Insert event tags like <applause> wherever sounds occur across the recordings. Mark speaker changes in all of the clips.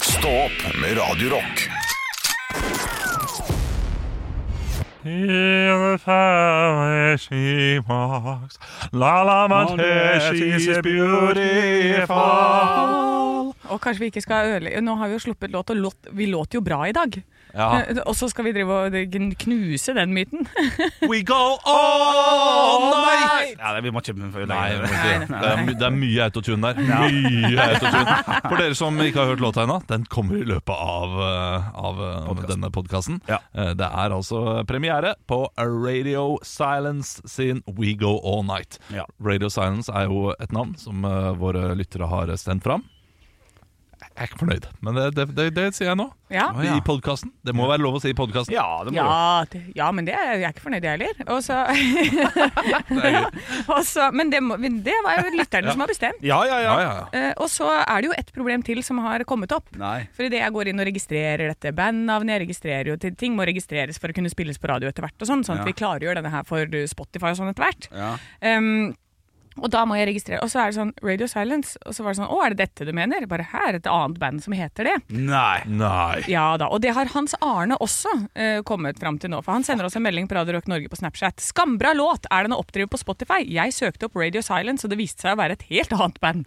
Speaker 1: Stå opp med Radio Rock.
Speaker 2: Og kanskje vi ikke skal ødelegge Nå har vi jo sluppet låt, og låt, vi låter jo bra i dag.
Speaker 3: Ja.
Speaker 2: Eh, Og så skal vi drive og gn- knuse den myten. <laughs>
Speaker 4: We go all
Speaker 2: night!
Speaker 4: Ja, det, vi må ikke ødelegge
Speaker 3: Nei, det må
Speaker 4: det.
Speaker 3: ikke det.
Speaker 5: <laughs>
Speaker 4: Nei,
Speaker 3: Det er, my- det er mye autotune der. Mye autotune. For dere som ikke har hørt låta ennå, den kommer i løpet av, eh, av eh, denne podkasten.
Speaker 4: Ja.
Speaker 3: Eh, Det er altså premiere på Radio Silence sin We Go All Night.
Speaker 4: Ja.
Speaker 3: Radio Silence er jo et navn som eh, våre lyttere har sendt fram. Jeg er ikke fornøyd, men det, det, det, det sier jeg nå.
Speaker 2: Ja.
Speaker 4: Å, ja.
Speaker 3: I podkasten. Det må være lov å si i podkasten.
Speaker 4: Ja, det må du.
Speaker 2: Ja, det, ja, men det er, jeg er ikke fornøyd, jeg heller. Og så, <laughs>
Speaker 4: <laughs>
Speaker 2: og så, men det, må- men det var jo lytterne som har bestemt.
Speaker 4: Ja, ja, ja.
Speaker 3: Ja, ja, ja.
Speaker 2: Eh, og så er det jo et problem til som har kommet opp.
Speaker 4: Nei.
Speaker 2: For idet jeg går inn og registrerer dette bandnavnet, jeg registrerer jo til ting må registreres for å kunne spilles på radio etter hvert, og sånn, sånn
Speaker 4: Ja.
Speaker 2: at vi klargjør denne her for uh, Spotify og sånn etter hvert.
Speaker 4: Ja.
Speaker 2: Um, og da må jeg registrere. Og så er det sånn Radio Silence. Og så var det sånn Å, er det dette du mener? Bare her, et annet band som heter det.
Speaker 4: Nei.
Speaker 3: Nei.
Speaker 2: Ja da. Og det har Hans Arne også eh, kommet fram til nå. For han sender oss en melding på Radio Rock Norge på Snapchat. 'Skambra låt! Er den å oppdrive på Spotify?' Jeg søkte opp Radio Silence, og det viste seg å være et helt annet band.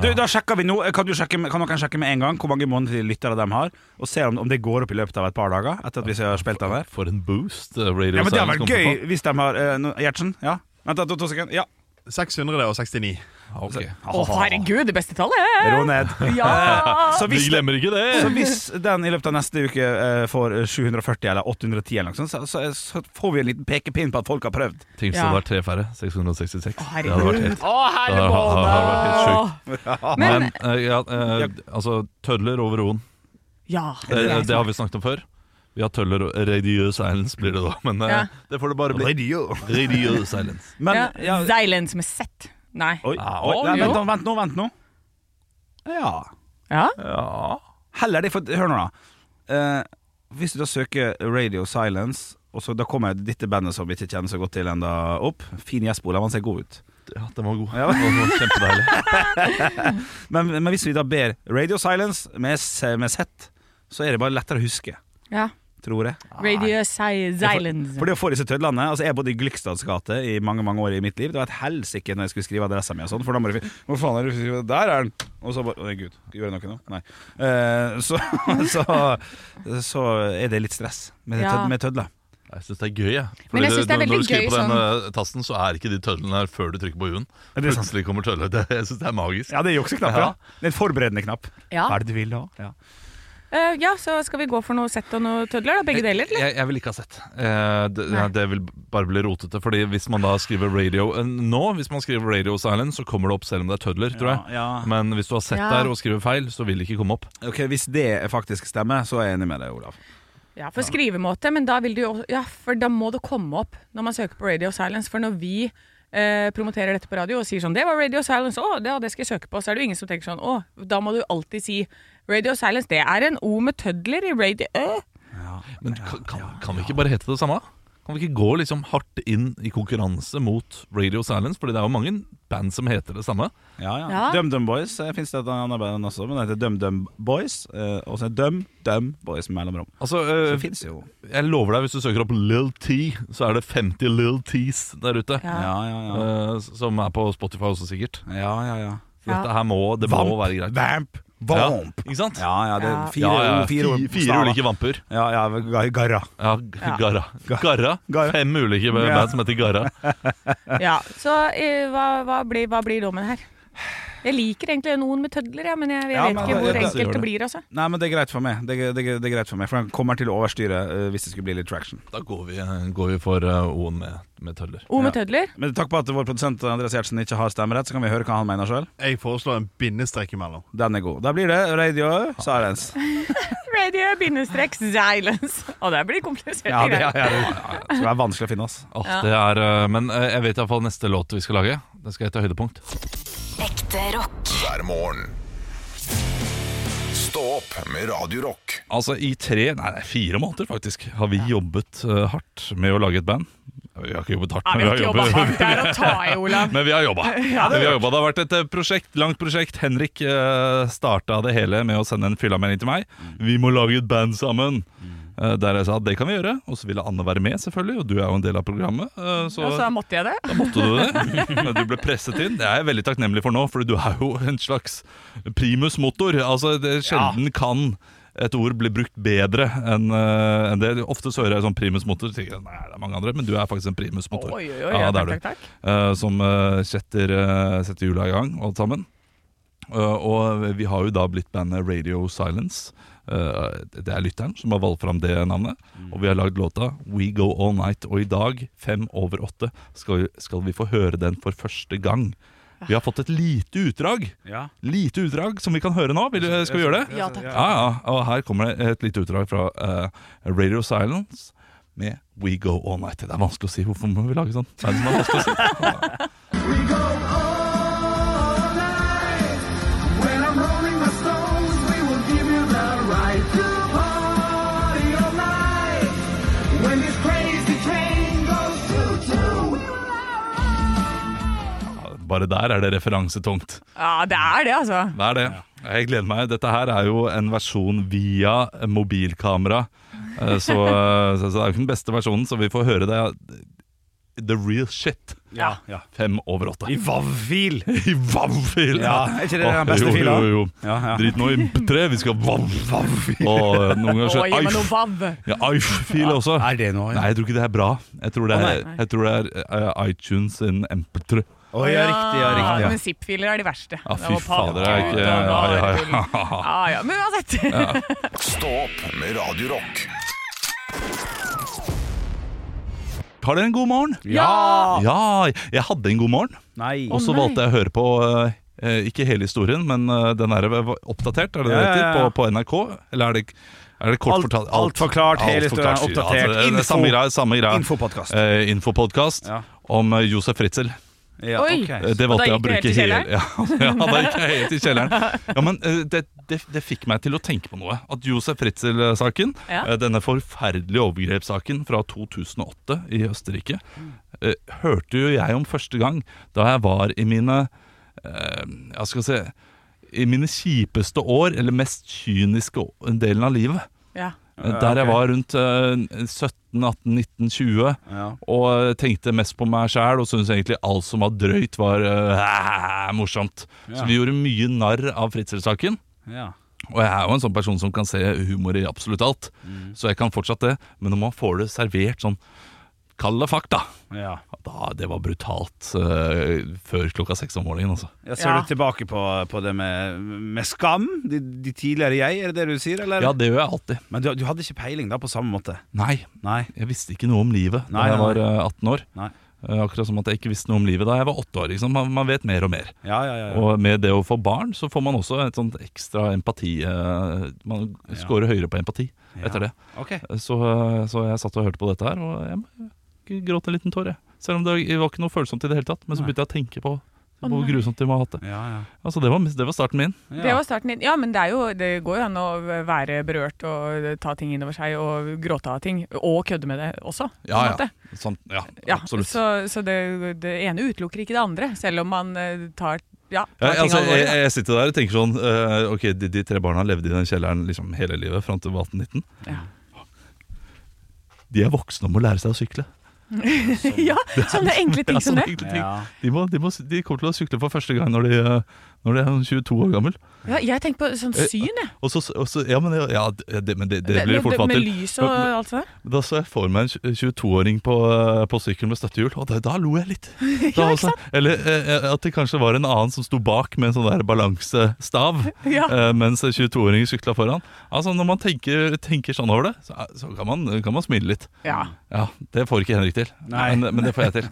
Speaker 4: Du, da sjekker vi nå Kan, du sjekke, med- kan noen sjekke med en gang hvor mange måneder lyttere de har? Og se om, om det går opp i løpet av et par dager? Etter at vi har spilt den her
Speaker 3: For en boost eh, Radio
Speaker 4: Ja, men Det
Speaker 3: Silence
Speaker 4: hadde vært
Speaker 3: kommer til å få.
Speaker 4: gøy hvis de har eh, no, Gjertsen? Ja? Vent, da, to, to sekunder. Ja.
Speaker 6: 669.
Speaker 3: Ah,
Speaker 4: Altså,
Speaker 3: Ok.
Speaker 2: Å, herregud, det beste tallet!
Speaker 4: Ro ned.
Speaker 2: Ja!
Speaker 4: Så
Speaker 3: Vi
Speaker 4: hvis,
Speaker 3: glemmer ikke det!
Speaker 4: <laughs> så hvis den i løpet av neste uke eh, får eh, 740 eller 810, eller noe sånt, så, så, så får vi en liten pekepinn på at folk har prøvd.
Speaker 3: Tenk hvis det
Speaker 2: Ja.
Speaker 3: hadde vært tre færre. 666. det
Speaker 2: Å,
Speaker 3: hadde vært
Speaker 2: herregud.
Speaker 3: helt, det <laughs> hadde, hadde vært helt sjukt. Men,
Speaker 2: Men
Speaker 3: eh, ja, eh, altså, tødler over roen.
Speaker 2: Ja.
Speaker 3: Det, det har vi snakket om før. Vi har tødler og Radio Silence blir det da, men eh,
Speaker 2: Ja.
Speaker 3: det får det bare bli.
Speaker 4: Radio.
Speaker 3: Radio Silence.
Speaker 4: Men ja.
Speaker 2: ja. Silence med Z. Nei.
Speaker 4: Oi.
Speaker 3: Ah,
Speaker 4: Oi.
Speaker 3: oi,
Speaker 4: Nei, vent,
Speaker 2: jo.
Speaker 4: nå, vent nå, vent nå. Ja.
Speaker 2: Ja.
Speaker 3: Ja.
Speaker 4: Heller det, for hør nå, da. Eh, hvis du da søker Radio Silence, og så da kommer dette bandet som vi ikke kjenner så godt til enda opp. Fin gjestbole, han ser god ut.
Speaker 3: ja, den var god.
Speaker 4: Ja.
Speaker 3: Den var Kjempedeilig.
Speaker 4: <laughs> Men, men hvis vi da ber Radio Silence med, s- med Z, så er det bare lettere å huske,
Speaker 2: ja.
Speaker 4: tror jeg.
Speaker 2: Radio Si- Silence.
Speaker 4: For det å få disse tødlene Altså Jeg bodde i Glykstads gate i mange mange år i mitt liv. Det var et helsike når jeg skulle skrive adressa mi. og sånn, For da må du finne Hvor faen er det Der er den! Og så bare Å, gud. Gjorde jeg noe nå? Nei. Eh, så, <laughs> så, så er det litt stress med,
Speaker 2: Ja.
Speaker 4: tød, med tødler.
Speaker 3: Jeg syns det er gøy, jeg.
Speaker 2: Men jeg
Speaker 3: Fordi
Speaker 2: synes det
Speaker 3: når- når
Speaker 2: er veldig
Speaker 3: du skriver
Speaker 2: gøy sånn-
Speaker 3: på den eh, tasten, så er ikke de tødlene her før du trykker på U-en.
Speaker 4: Ja, det er sant.
Speaker 3: Plutselig kommer tødler. <laughs> Det, jeg syns det er magisk.
Speaker 4: Ja, det er jukseknapp. Ja.
Speaker 3: Ja.
Speaker 4: Det er en forberedende knapp.
Speaker 2: Ja.
Speaker 4: Hva er det du vil ha? Ja.
Speaker 2: Eh, ja, så skal vi gå for noe Z og noe tødler, da? Begge deler, eller?
Speaker 3: Jeg, jeg vil ikke ha sett. Eh, det,
Speaker 2: Nei.
Speaker 3: det vil bare bli rotete. Fordi hvis man da skriver radio eh, Nå, hvis man skriver Radio Silence, så kommer det opp selv om det er tødler, tror jeg.
Speaker 4: ja.
Speaker 3: Men hvis du har sett
Speaker 2: Ja.
Speaker 3: der og skriver feil, så vil det ikke komme opp.
Speaker 4: Ok, Hvis det faktisk stemmer, så er jeg enig med deg, Olav.
Speaker 2: Ja, for skrivemåte, men da vil du jo Ja, for da må det komme opp når man søker på Radio Silence. For når vi eh, promoterer dette på radio og sier sånn 'Det var Radio Silence, å, det, ja, det skal jeg søke på', så er det jo ingen som tenker sånn 'Å, da må du alltid si Radio Silence'. Det er en O med tødler i radio... Øh.
Speaker 3: Men kan, kan, kan vi ikke bare hete det samme? Kan vi ikke gå liksom hardt inn i konkurranse mot Radio Silence? Fordi det er jo mange band som heter det samme.
Speaker 4: Ja, ja.
Speaker 2: Ja.
Speaker 4: DumDum Boys eh, finnes det et annet band også, men det heter DumDum Boys. eh, Og så er Dum Dum Boys med mellomrom.
Speaker 3: Altså,
Speaker 4: Så
Speaker 3: eh,
Speaker 4: det finnes jo
Speaker 3: Jeg lover deg, hvis du søker opp Lil T, så er det 50 Lil Ts der ute.
Speaker 2: Ja.
Speaker 4: Ja, ja, ja.
Speaker 3: eh, som er på Spotify også, sikkert.
Speaker 4: ja, ja, ja.
Speaker 3: Så Dette her må, det må være greit.
Speaker 4: Vamp,
Speaker 3: Ja,
Speaker 4: vamp.
Speaker 3: ikke sant?
Speaker 4: Ja, ja, det er fire,
Speaker 3: Ja, ja,
Speaker 4: fire,
Speaker 3: fi-
Speaker 4: ord-
Speaker 3: fire
Speaker 4: staver.
Speaker 3: ulike vamper.
Speaker 4: Ja, ja, ga- garra.
Speaker 3: Ja, g-
Speaker 2: Ja.
Speaker 3: Garra. Garra.
Speaker 4: Garra.
Speaker 3: Fem ulike
Speaker 4: Ja.
Speaker 3: band som heter Garra.
Speaker 2: Ja, så eh, hva, hva, blir, hva blir dommen her? Jeg liker egentlig noen med tødler, ja, men jeg, jeg
Speaker 4: Ja,
Speaker 2: vet
Speaker 4: men
Speaker 2: ikke
Speaker 4: det-
Speaker 2: hvor
Speaker 4: det-
Speaker 3: det
Speaker 2: enkelt
Speaker 3: gjør
Speaker 2: det
Speaker 3: det.
Speaker 2: blir. altså.
Speaker 4: Nei, men det er greit for meg, det, er- det, er- det er greit for meg for den kommer til å overstyre eh, hvis det skulle bli litt traction.
Speaker 3: Da går vi, går vi for eh, O-en med, med tøller.
Speaker 2: O med
Speaker 4: Ja.
Speaker 2: tødler?
Speaker 4: Men takk på at vår produsent Andreas Gjertsen ikke har stemmerett, så kan vi høre hva han mener sjøl.
Speaker 6: Jeg foreslår en bindestrek imellom.
Speaker 4: Den er god. Da blir det Radio
Speaker 2: <laughs>
Speaker 4: Silence.
Speaker 2: Radio-silence. Og det blir kompliserte
Speaker 4: Ja, det, ja,
Speaker 2: greier.
Speaker 4: ja, ja. det skal være vanskelig å finne altså. oss.
Speaker 3: Åh, det er, eh, men eh, jeg vet i hvert fall neste låt vi skal lage. Den skal hete Høydepunkt.
Speaker 6: Ekte rock.
Speaker 1: hver morgen. Stå opp med Radio Rock.
Speaker 3: Altså I tre, nei det er fire måneder faktisk, har vi jobbet eh, hardt med å lage et band. Vi har ikke jobbet hardt,
Speaker 2: Ja, vi har ikke jobba
Speaker 3: men
Speaker 2: hardt der å ta i, Olav.
Speaker 3: men vi har jobba.
Speaker 2: <laughs> Ja, det
Speaker 3: Men vi har jobbet. Det har vært et eh, prosjekt, langt prosjekt. Henrik uh, starta det hele med å sende en fyllamelding til meg. 'Vi må lage et band sammen'. Eh, der jeg sa at det kan vi gjøre. Og så ville Anne være med, selvfølgelig. Og du er jo en del av programmet. eh, <laughs> så
Speaker 2: Og så måtte jeg det.
Speaker 3: da måtte du det. <laughs> Men du ble presset inn. Det er jeg veldig takknemlig for nå, for du er jo en slags primus motor. Altså, det sjelden kan et ord bli brukt bedre enn eh, enn det. Ofte så hører jeg sånn primus motor, så tenker jeg nei, det er mange andre, men du er faktisk en primus motor.
Speaker 2: Oi, oi, oi,
Speaker 3: Ja,
Speaker 2: ja,
Speaker 3: det er
Speaker 2: takk,
Speaker 3: du.
Speaker 2: takk, takk.
Speaker 3: Eh, som eh, setter, eh, setter jula i gang, alt sammen. Eh, og vi har jo da blitt bandet Radio Silence. Eh, det er lytteren som har valgt fram det navnet. Og vi har lagd låta We Go All Night. Og i dag, fem over åtte, skal, skal vi få høre den for første gang. Vi har fått et lite utdrag
Speaker 4: Ja.
Speaker 3: Lite utdrag som vi kan høre nå. Vil, du- skal vi gjøre det?
Speaker 7: Ja, takk.
Speaker 3: Ja, ja. Og her kommer det et lite utdrag fra eh, Radio Silence med We Go All Night. Det er vanskelig å si. Hvorfor må vi lage sånn? Nei, det er vanskelig å si.
Speaker 8: When I'm rolling the stones, we will give you the right to party all night. When this crazy train goes choo choo,
Speaker 3: Bare der er det referansetungt.
Speaker 2: Ja, det er det, altså.
Speaker 3: Det er det. Jeg gleder meg. Dette her er jo en versjon via mobilkamera. Eh, Så, så så det er jo ikke den beste versjonen, så vi får høre det. The real shit.
Speaker 4: Ja, ja.
Speaker 3: Fem over åtte.
Speaker 4: I Vavvil!
Speaker 3: <laughs> I vannfil!
Speaker 4: Ja, er ikke det den beste
Speaker 3: jo,
Speaker 4: fila?
Speaker 3: Jo, jo, jo.
Speaker 4: Ja, ja.
Speaker 3: Drit nå i tre, vi skal vann, vannfil. Og noen ganger
Speaker 2: Å,
Speaker 3: så
Speaker 2: gi meg noe
Speaker 3: Eif-
Speaker 2: vav.
Speaker 3: ja, Eif-fil også.
Speaker 4: Er det noe?
Speaker 3: Nei, jeg tror ikke det er bra. Jeg tror det
Speaker 4: Å,
Speaker 3: er, jeg tror det er eh, iTunes in MP3.
Speaker 4: Å, ja, riktig, ja, riktig. Ja.
Speaker 2: Men zip-filer er de verste.
Speaker 3: Ja,
Speaker 2: Det
Speaker 3: Ah, fy
Speaker 2: var
Speaker 3: fader. Det er
Speaker 2: pakke
Speaker 3: ikke
Speaker 2: ut, og
Speaker 3: ja,
Speaker 2: da
Speaker 3: ja,
Speaker 2: var det
Speaker 3: ja,
Speaker 2: tull. Ja, ja, men
Speaker 3: <laughs>
Speaker 2: uansett. <laughs>
Speaker 1: Stå opp med Radio Rock.
Speaker 3: Har dere en god morgen? Ja, jeg hadde en god morgen.
Speaker 4: Nei.
Speaker 3: Og så
Speaker 2: nei.
Speaker 3: valgte jeg å høre på eh, ikke hele historien, men eh, den er oppdatert, er det det
Speaker 4: Ja, ja,
Speaker 3: heter,
Speaker 4: ja.
Speaker 3: på, på NRK? Eller er det, er det kort
Speaker 4: Alt-
Speaker 3: fortalt?
Speaker 4: alt forklart, hele historien,
Speaker 3: forklart, sier-
Speaker 4: oppdatert.
Speaker 3: det er
Speaker 4: Info-
Speaker 3: samme greia. Samme greia.
Speaker 4: Infopodcast.
Speaker 3: Eh, infopodcast
Speaker 4: Ja.
Speaker 3: om eh, Josef Fritzel.
Speaker 4: Ja,
Speaker 2: Oi.
Speaker 4: ok.
Speaker 3: Eh, Det
Speaker 2: Og da
Speaker 3: valgte jeg å
Speaker 2: gikk du helt
Speaker 3: bruke
Speaker 2: i
Speaker 3: hele <laughs> ja, ja, da gikk jeg helt i kjelleren.
Speaker 4: <laughs>
Speaker 3: Ja, men eh, det, det, det fikk meg til å tenke på noe. At Josef Fritzel-saken,
Speaker 2: Ja.
Speaker 3: eh, denne forferdelige overgrepssaken fra 2008 i Østerrike, eh, hørte jo jeg om første gang da jeg var i mine eh, Jeg skal si I mine kjipeste år, eller mest kyniske å- delen av livet.
Speaker 2: Ja.
Speaker 3: Eh, Der jeg
Speaker 4: ok.
Speaker 3: var rundt eh, 17, 18, 19, 20
Speaker 4: Ja.
Speaker 3: og eh, tenkte mest på meg sjæl og syntes egentlig alt som var drøyt, var eh, <laughs> morsomt. Så
Speaker 4: Ja.
Speaker 3: vi gjorde mye narr av Fritzel-saken.
Speaker 4: Ja.
Speaker 3: Og jeg er jo en sånn person som kan se humor i absolutt alt, så jeg kan fortsatt det. Men når man får det servert sånn Kall det fakta!
Speaker 4: Ja.
Speaker 3: Da, det var brutalt eh, før klokka seks om morgenen, altså.
Speaker 4: Jeg ser
Speaker 2: Ja.
Speaker 4: du tilbake på, på det med, med skam? De, de tidligere jeg, er det det du sier? Eller?
Speaker 3: Ja, det gjør jeg alltid.
Speaker 4: Men du, du hadde ikke peiling da, på samme måte?
Speaker 3: Nei,
Speaker 4: Nei.
Speaker 3: jeg visste ikke noe om livet da
Speaker 4: Nei,
Speaker 3: jeg
Speaker 4: nei,
Speaker 3: var eh, 18 år.
Speaker 4: Nei.
Speaker 3: Eh, Akkurat som at jeg ikke visste noe om livet da jeg var åtte år. Liksom. Man, man vet mer og mer.
Speaker 4: Ja, ja, ja. ja.
Speaker 3: Og med det å få barn, så får man også et sånt ekstra empati eh, Man scorer høyere på empati etter det.
Speaker 4: Ok.
Speaker 3: Så, så jeg satt og hørte på dette her, og jeg må- gråt en liten tår, jeg. Selv om det var ikke noe følsomt i det hele tatt. Men så begynte jeg å tenke på hvor grusomt de må ha hatt det.
Speaker 4: Ja, ja.
Speaker 3: Altså, det var, det var starten min.
Speaker 4: Ja.
Speaker 2: Det var starten din. Ja, men det, er jo, det går jo an å være berørt og ta ting innover seg og gråte av ting. Og kødde med det også. på en måte.
Speaker 3: Sånn, ja,
Speaker 2: Ja,
Speaker 3: absolutt.
Speaker 2: Så, så det, det ene utelukker ikke det andre, selv om man eh, tar, ja,
Speaker 3: Ja,
Speaker 2: tar ting
Speaker 3: altså, jeg,
Speaker 2: alvorlig. da.
Speaker 3: jeg sitter der og tenker sånn eh, Ok, de, de tre barna levde i den kjelleren liksom hele livet fram til 18-19.
Speaker 2: Ja.
Speaker 3: De er voksne og må lære seg å sykle.
Speaker 2: ja, sånne enkle ting
Speaker 3: Sånn. <laughs> Ja, sånne
Speaker 2: som det.
Speaker 3: enkle ting.
Speaker 4: Ja.
Speaker 3: De, må, de, må, de kommer til å sykle for første gang når de, eh, når de er sånn 22 år gammel.
Speaker 2: Ja, jeg tenker på sånn syn, jeg.
Speaker 3: Og så, og så, ja, men, det- ja, det, men Eh, det, det
Speaker 2: Med-
Speaker 3: blir det fort
Speaker 2: med,
Speaker 3: vant
Speaker 2: med
Speaker 3: til.
Speaker 2: lys og
Speaker 3: Men-
Speaker 2: alt sånt. der.
Speaker 3: Da så jeg for meg en tj- 22-åring på, eh, på sykkel med støttehjul, og da, da lo jeg litt. Da
Speaker 2: <laughs> Ja, ikke
Speaker 3: også. Eller eh, at det kanskje var en annen som sto bak med en sånn der balansestav,
Speaker 2: <laughs> Ja.
Speaker 3: eh, mens 22-åringen sykla foran. Altså, når man tenker, tenker sånn over det, så, så kan, man, kan man smile litt.
Speaker 2: Ja.
Speaker 3: Ja, Det får ikke Henrik til,
Speaker 4: Nei. <laughs>
Speaker 3: Men, men det får jeg til.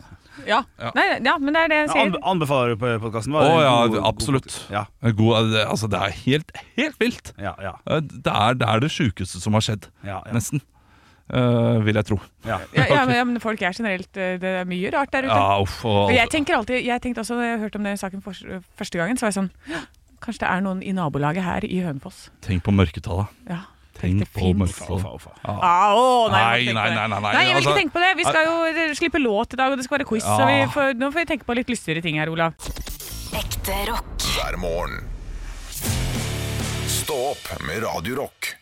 Speaker 2: Ja.
Speaker 3: Ja.
Speaker 2: Nei, ja, men det er det jeg
Speaker 4: Anbe-
Speaker 2: sier.
Speaker 4: Anbefaler du på podkasten?
Speaker 3: Å ja, absolutt.
Speaker 4: Ja,
Speaker 3: God, det- altså, det er helt, helt vilt.
Speaker 4: ja, ja,
Speaker 3: Eh, Det er det, er det sjukeste som har skjedd,
Speaker 4: ja, ja,
Speaker 3: nesten. Eh, vil jeg tro.
Speaker 4: ja.
Speaker 2: Ja,
Speaker 3: <laughs>
Speaker 2: ja, men, ja, men folk er generelt eh, Det er mye rart der ute.
Speaker 3: Ja, altså. uff. Og,
Speaker 2: Og jeg tenker alltid, jeg tenkte også da jeg hørte om den saken fors- første gangen, så var jeg sånn «Hå, Kanskje det er noen i nabolaget her i Hønefoss.
Speaker 3: tenk på mørketallet.
Speaker 2: Ja.
Speaker 3: Tenk
Speaker 2: det
Speaker 3: på
Speaker 2: finnes.
Speaker 4: Faen,
Speaker 3: mørketallet.
Speaker 4: faen, faen.
Speaker 2: Ah, å, nei, jeg må
Speaker 3: Nei, nei, nei, nei,
Speaker 2: ikke tenke på det.
Speaker 3: nei.
Speaker 2: nei, jeg vil ikke
Speaker 3: Altså-
Speaker 2: tenke på det. Vi skal jo eh, slippe låt i dag, og det skal være quiz. Så vi får, nå får vi tenke på litt lystigere ting her, Olav.
Speaker 6: Ekte rock.
Speaker 1: hver morgen. Stå opp med Radio Rock.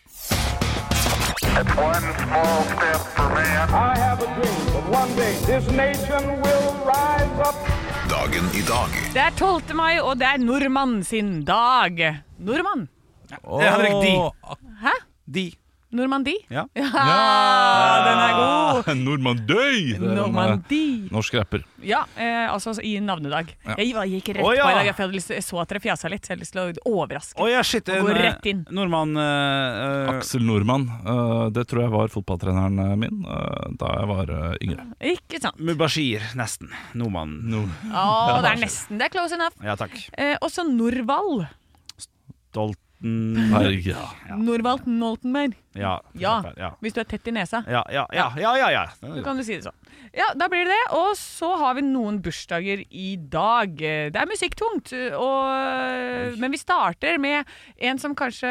Speaker 9: One small step for man. I have a dream that one day this nation will rise up.
Speaker 1: Dagen i dag.
Speaker 2: Det er 12. mai, og det er nordmann sin dag. Nordmann?
Speaker 4: Ja, riktig.
Speaker 2: Hæ?
Speaker 4: De.
Speaker 2: Normandie?
Speaker 4: Ja.
Speaker 2: Ja, den er god.
Speaker 3: Normandøy! Det er en, eh,
Speaker 2: Normandie.
Speaker 3: Norsk rapper.
Speaker 2: Ja, eh, altså i navnedag. Jeg var- gikk rett
Speaker 4: Å, ja.
Speaker 2: på i dag, for jeg, hadde lyst, jeg så at dere fjasa litt. Så jeg hadde lyst til å overraske.
Speaker 4: Å ja, shit. En
Speaker 2: Går rett inn.
Speaker 4: eh, nordmann eh, eh,
Speaker 3: Aksel Nordmann. eh, det tror jeg var fotballtreneren eh, min eh, da jeg var eh, yngre.
Speaker 2: Ikke sant?
Speaker 4: Mubashir, nesten. Nordmann.
Speaker 2: Å, det er nesten. Det er close enough.
Speaker 4: Ja takk.
Speaker 2: Eh, også Norvald.
Speaker 4: Dolten
Speaker 3: Nei, ja.
Speaker 2: Norvald Noltenberg.
Speaker 4: Ja.
Speaker 2: Ja.
Speaker 4: ja.
Speaker 2: Hvis du er tett i nesa.
Speaker 4: Ja, ja, ja, ja, ja, ja.
Speaker 2: Så kan du si det sånn. Ja, da blir det det. Og så har vi noen bursdager i dag. Det er musikktungt, og, men vi starter med en som kanskje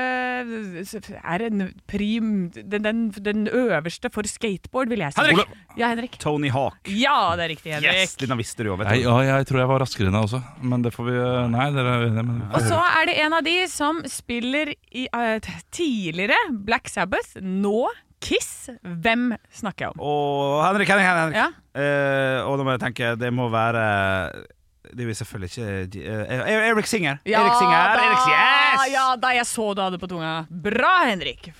Speaker 2: er en prim Den, den, den øverste for skateboard, vil jeg si.
Speaker 4: Henrik!
Speaker 2: Ja, Henrik.
Speaker 4: Tony Hawk.
Speaker 2: Ja, det er riktig, Henrik.
Speaker 4: Yes! Lina visste det jo, vet
Speaker 3: Nei,
Speaker 4: du.
Speaker 3: ja, jeg tror jeg var raskere enn deg også, men det får vi eh, Nei, dere det, men,
Speaker 2: Og så er det en av de som spiller i, eh, tidligere Black Sabbath, nå Kiss. Hvem snakker jeg om?
Speaker 4: Og Henrik, Henrik, Henrik. Henrik.
Speaker 2: Ja.
Speaker 4: Eh, og nå må jeg tenke, det må være Det er jo selvfølgelig ikke eh, Er- Eric Singer. Eric Singer.
Speaker 2: da,
Speaker 4: Eric, yes!
Speaker 2: ja da, jeg så du hadde på tunga. Bra, Henrik.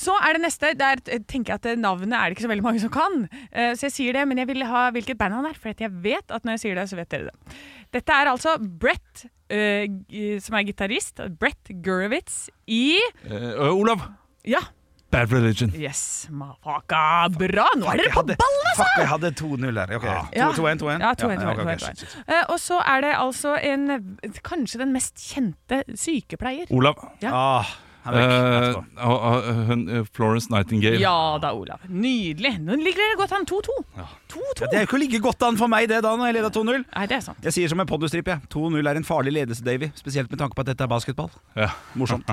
Speaker 2: Så er det neste. Der t- tenker jeg at eh, navnet er det ikke så veldig mange som kan. Eh, Så jeg sier det, men jeg vil ha hvilket band han er, for at jeg vet at når jeg sier det, så vet dere det. Dette er altså Brett, eh, g- som er gitarist, Brett Gurewitz i
Speaker 3: Eh, eh, Olav!
Speaker 2: Ja,
Speaker 3: Bad Religion.
Speaker 2: yes, mafaka. Bra! Nå er dere på
Speaker 4: hadde-
Speaker 2: ballen, altså!
Speaker 4: Fuck, jeg hadde 2-0 der. Ok, 2-1, 2-1.
Speaker 2: Ja. Ja,
Speaker 4: Ja,
Speaker 2: 2-1,
Speaker 4: ja,
Speaker 2: 2-1,
Speaker 4: ok, ok,
Speaker 2: 2-1.
Speaker 4: shit, shit.
Speaker 2: Eh, Og så er det altså en kanskje den mest kjente sykepleier.
Speaker 3: Olav.
Speaker 2: Ja.
Speaker 4: Ah, Henrik.
Speaker 3: Eh,
Speaker 4: etterpå.
Speaker 3: og- og hun, eh, Florence Nightingale.
Speaker 2: Ja da, Olav. Nydelig. Nå ligger dere godt an. 2-2. 2-2.
Speaker 4: Det er jo ikke like godt an for meg, det, da, når jeg leder 2-0.
Speaker 2: Nei, det er sant.
Speaker 4: Jeg sier som en poddustripp, jeg. 2-0 er en farlig ledelse, Davy. Spesielt med tanke på at dette er basketball.
Speaker 3: Ja.
Speaker 4: Morsomt.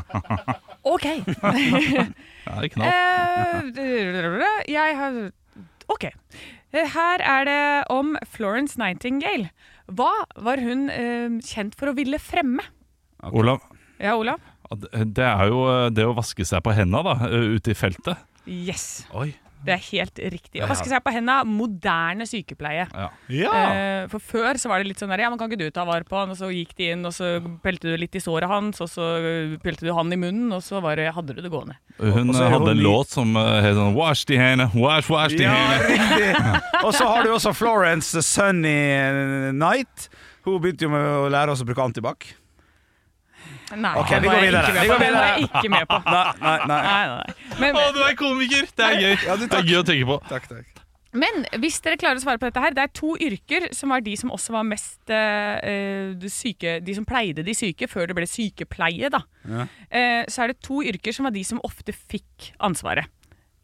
Speaker 2: OK.
Speaker 3: Ja, det er knall.
Speaker 2: Eh, jeg har OK. Eh, Her er det om Florence Nightingale. Hva var hun eh, kjent for å ville fremme?
Speaker 3: Olav.
Speaker 2: Ja, Olav?
Speaker 3: Det er jo eh, det å vaske seg på henda da, eh, ute i feltet.
Speaker 2: Yes.
Speaker 3: Oi.
Speaker 2: Det er helt riktig. Å vaske seg på henda. Moderne sykepleie.
Speaker 3: Ja.
Speaker 2: Eh, for før så var det litt sånn der, ja, men kan ikke du ta vare på han? Og så gikk de inn, og så pelte du litt i såret hans, og så eh, pelte du han i munnen, og så var det, hadde du det gående.
Speaker 3: Hun
Speaker 4: Og så er
Speaker 3: eh, hadde
Speaker 4: hun
Speaker 3: en
Speaker 4: ny.
Speaker 3: låt som eh, het sånn Wash the hand, wash, wash the hand.
Speaker 4: riktig! Og så har du også Florence Sunny Night. Hun begynte jo med å lære oss å bruke antibac.
Speaker 2: Nei,
Speaker 4: Ok,
Speaker 2: det
Speaker 4: vi
Speaker 2: var
Speaker 4: går
Speaker 2: jeg
Speaker 4: videre.
Speaker 2: ikke med på. Det var
Speaker 4: Vi går videre.
Speaker 2: jeg ikke med
Speaker 4: <laughs>
Speaker 2: på.
Speaker 4: Nei, nei, nei.
Speaker 2: Nei, nei, nei. Men,
Speaker 3: Å, du er komiker! Det er gøy. det er gøy å tenke på.
Speaker 4: Takk, takk.
Speaker 2: men hvis dere klarer å svare på dette her, det er to yrker som var de som også var mest eh, eh, de syke, de som pleide de syke før det ble sykepleie, da. Eh, så er det to yrker som var de som ofte fikk ansvaret.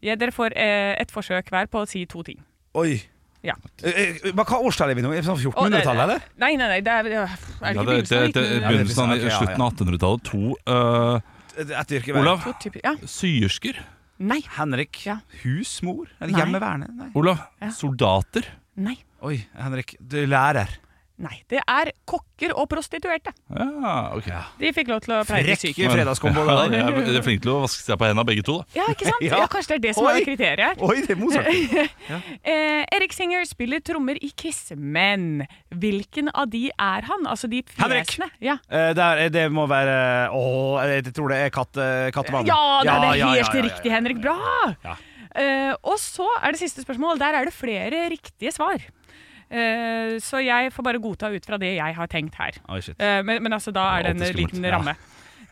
Speaker 2: Ja, dere får eh, et forsøk hver på å si to ting.
Speaker 4: Oi.
Speaker 2: Ja.
Speaker 4: Eh, eh, Hva hva årstall er vi nå? Er vi
Speaker 2: Å,
Speaker 4: sånn
Speaker 2: det-
Speaker 4: 1400-tallet, eller?
Speaker 2: Nei, nei, nei, det er, det er, er det
Speaker 3: Ja,
Speaker 2: ikke
Speaker 3: det, det, det,
Speaker 2: begynnelsen av
Speaker 4: Ja, det er
Speaker 3: begynnelsen av
Speaker 4: ok, ja, ja.
Speaker 3: slutten av 1800-tallet. To eh,
Speaker 4: Et yrke hver.
Speaker 3: Olav.
Speaker 2: 1900-tallet? Ja.
Speaker 3: Syersker.
Speaker 2: Nei.
Speaker 4: Henrik.
Speaker 2: Ja.
Speaker 4: Husmor? Eller
Speaker 2: Nei.
Speaker 4: hjemmeværende? Nei.
Speaker 3: Olav.
Speaker 2: Ja.
Speaker 3: Soldater.
Speaker 2: nei,
Speaker 4: Oi, Henrik. Du er lærer.
Speaker 2: nei. Det er kokker og prostituerte.
Speaker 3: Ja, ok.
Speaker 2: De fikk lov til å pleie
Speaker 4: Frekk
Speaker 2: syke.
Speaker 4: fredagskombo.
Speaker 3: Ja, de
Speaker 4: det der.
Speaker 3: er de er flinke til å vaske seg på henda, begge to. da.
Speaker 2: Ja, ikke sant?
Speaker 4: <laughs> Ja.
Speaker 2: Ja, Kanskje det er det som
Speaker 4: Oi.
Speaker 2: er kriteriet her.
Speaker 4: <laughs> Oi, det er Mozart.
Speaker 2: <laughs> Eh, Erik Singer spiller trommer i Kiss, men hvilken av de er han? Altså de
Speaker 4: Henrik.
Speaker 2: fjesene. Ja.
Speaker 4: Eh, der, eh, det må være Åh, jeg tror det er katt, eh, kattemann.
Speaker 2: ja, det er helt
Speaker 4: ja, ja, ja, ja.
Speaker 2: riktig, Henrik. Bra! Eh, og så er det siste spørsmål. Der er det flere riktige svar. Eh, så jeg får bare godta ut fra det jeg har tenkt her.
Speaker 4: Oi, shit.
Speaker 2: Eh, men, men altså, da er
Speaker 3: Det er alltid
Speaker 2: det en
Speaker 3: skummelt.
Speaker 2: liten
Speaker 3: Ja.
Speaker 2: ramme.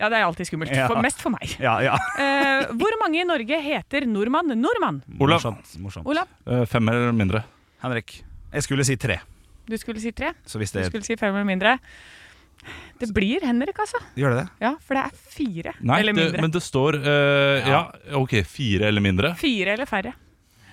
Speaker 2: Ja, det er alltid skummelt.
Speaker 4: Ja.
Speaker 2: For, mest for meg.
Speaker 4: Ja, ja.
Speaker 2: Eh, hvor mange i Norge heter nordmann nordmann?
Speaker 3: Olav.
Speaker 4: Morsomt. morsomt.
Speaker 2: Olav?
Speaker 3: Eh, Fem eller mindre.
Speaker 4: Henrik. Jeg skulle si tre.
Speaker 2: Du skulle si tre.
Speaker 4: Så hvis
Speaker 2: Du
Speaker 4: det
Speaker 2: skulle si fem eller mindre. Det blir Henrik, altså.
Speaker 4: Gjør det det?
Speaker 2: Ja, for det er fire
Speaker 3: Nei,
Speaker 2: eller
Speaker 3: det,
Speaker 2: mindre.
Speaker 3: men det står eh, ja. ok, fire eller mindre.
Speaker 2: Fire eller færre.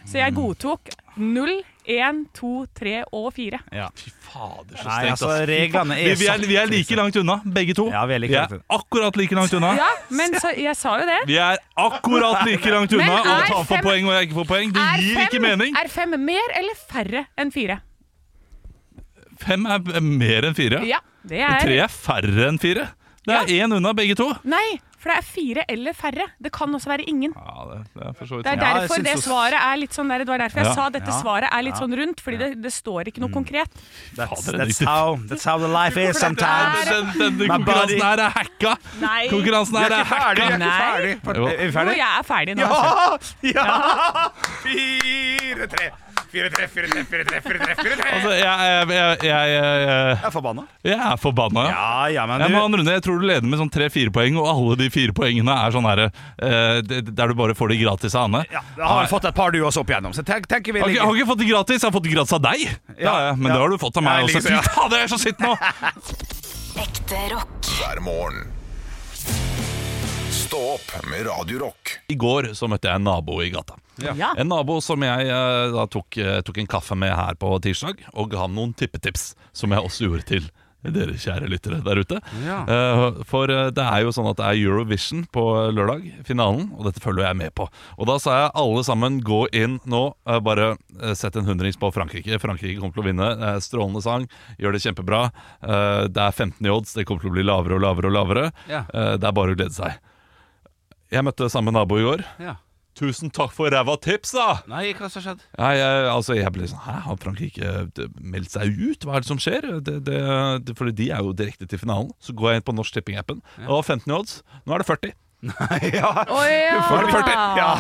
Speaker 2: Så jeg godtok null, én, to, tre og fire.
Speaker 3: Fy fader, så
Speaker 4: Nei,
Speaker 3: strengt.
Speaker 4: altså,
Speaker 3: ass.
Speaker 4: reglene
Speaker 3: Vi,
Speaker 4: er
Speaker 3: vi, er, vi er like langt unna, begge to.
Speaker 4: Ja, vi er like langt unna.
Speaker 3: akkurat like langt unna.
Speaker 2: Ja, men så, jeg sa jo det.
Speaker 3: Vi er akkurat like langt unna
Speaker 2: Men
Speaker 3: å
Speaker 2: er
Speaker 3: ta for
Speaker 2: fem-
Speaker 3: poeng og jeg ikke får poeng. Det
Speaker 2: Er
Speaker 3: gir ikke
Speaker 2: fem-
Speaker 3: mening.
Speaker 2: Er fem mer eller færre enn fire?
Speaker 3: Fem er mer enn fire.
Speaker 2: Ja, det
Speaker 3: Tre
Speaker 2: er
Speaker 3: er færre enn fire. Det er én unna begge to.
Speaker 2: Nei, for det er fire eller færre. Det kan også være ingen.
Speaker 3: Ja, det, det er for så vidt
Speaker 2: Det er
Speaker 3: sant.
Speaker 4: Ja, jeg
Speaker 2: derfor
Speaker 4: synes
Speaker 2: det
Speaker 4: også-
Speaker 2: svaret er litt sånn der, Det var derfor jeg
Speaker 3: Ja,
Speaker 2: sa dette
Speaker 4: ja,
Speaker 2: svaret er litt sånn rundt, fordi det, det står ikke noe konkret.
Speaker 4: That's,
Speaker 3: Fader,
Speaker 4: that's,
Speaker 3: det-
Speaker 4: how, that's how the life is sometimes.
Speaker 3: Den, den, den
Speaker 4: My body.
Speaker 3: konkurransen her er hacka!
Speaker 2: Nei.
Speaker 3: Konkurransen her er hacka!
Speaker 2: vi er ikke Nei.
Speaker 3: Jo.
Speaker 4: Er vi
Speaker 2: Jo,
Speaker 4: ferdige?
Speaker 2: jeg er ferdig nå. altså.
Speaker 4: Ja! Ja! Fire-tre. Fire-tre, fire-tre, fire-tre, fire-tre. fire-tre.
Speaker 3: Altså, jeg, jeg, jeg, jeg, jeg,
Speaker 4: Jeg er forbanna.
Speaker 3: jeg er forbanna. Ja.
Speaker 4: Ja, ja, men
Speaker 3: Ja, men
Speaker 4: du,
Speaker 3: han Rune, jeg tror du leder med sånn tre-fire poeng, og alle de fire poengene er sånn herre eh, det- der du bare får de gratis av Anne.
Speaker 4: ja, da har vi fått et par du også opp igjennom, så tenk, tenker vi
Speaker 3: Jeg har ikke- jeg har ikke fått det gratis, jeg har fått det gratis av deg. Ja, ja, men
Speaker 4: ja.
Speaker 3: det har du fått av meg
Speaker 4: Jeg
Speaker 3: også.
Speaker 4: liker det,
Speaker 3: Fy fader, jeg er så sint nå!
Speaker 6: Ekte rock.
Speaker 1: hver morgen. Stå opp med Radio Rock.
Speaker 3: I går så møtte jeg en nabo i gata.
Speaker 2: Ja.
Speaker 3: En nabo som jeg eh, da tok, eh, tok en kaffe med her på tirsdag, og ga ham noen tippetips, som jeg også gjorde til dere kjære lyttere der ute. Eh, For eh, det er jo sånn at det er Eurovision på lørdag, finalen, og dette følger jeg med på. Og da sa jeg alle sammen gå inn nå, eh, bare eh, sett en hundrings på Frankrike. Frankrike kommer til å vinne. Det er Strålende sang, gjør det kjempebra. Eh, Det er 15 i odds, det kommer til å bli lavere og lavere og lavere.
Speaker 4: Ja.
Speaker 3: Eh, Det er bare å glede seg. Jeg møtte samme nabo i går.
Speaker 4: Ja.
Speaker 3: Tusen takk for ræva tips, da!
Speaker 4: Nei, hva som har skjedd?
Speaker 3: Nei, jeg, altså, jeg ble sånn Hæ, har Frankrike eh, d- meldt seg ut? Hva er det som skjer? Det, det, det, fordi de er jo direkte til finalen. Så går jeg inn på Norsk Tipping-appen. Det var 15 i odds. Nå er det 40.
Speaker 2: Å ja.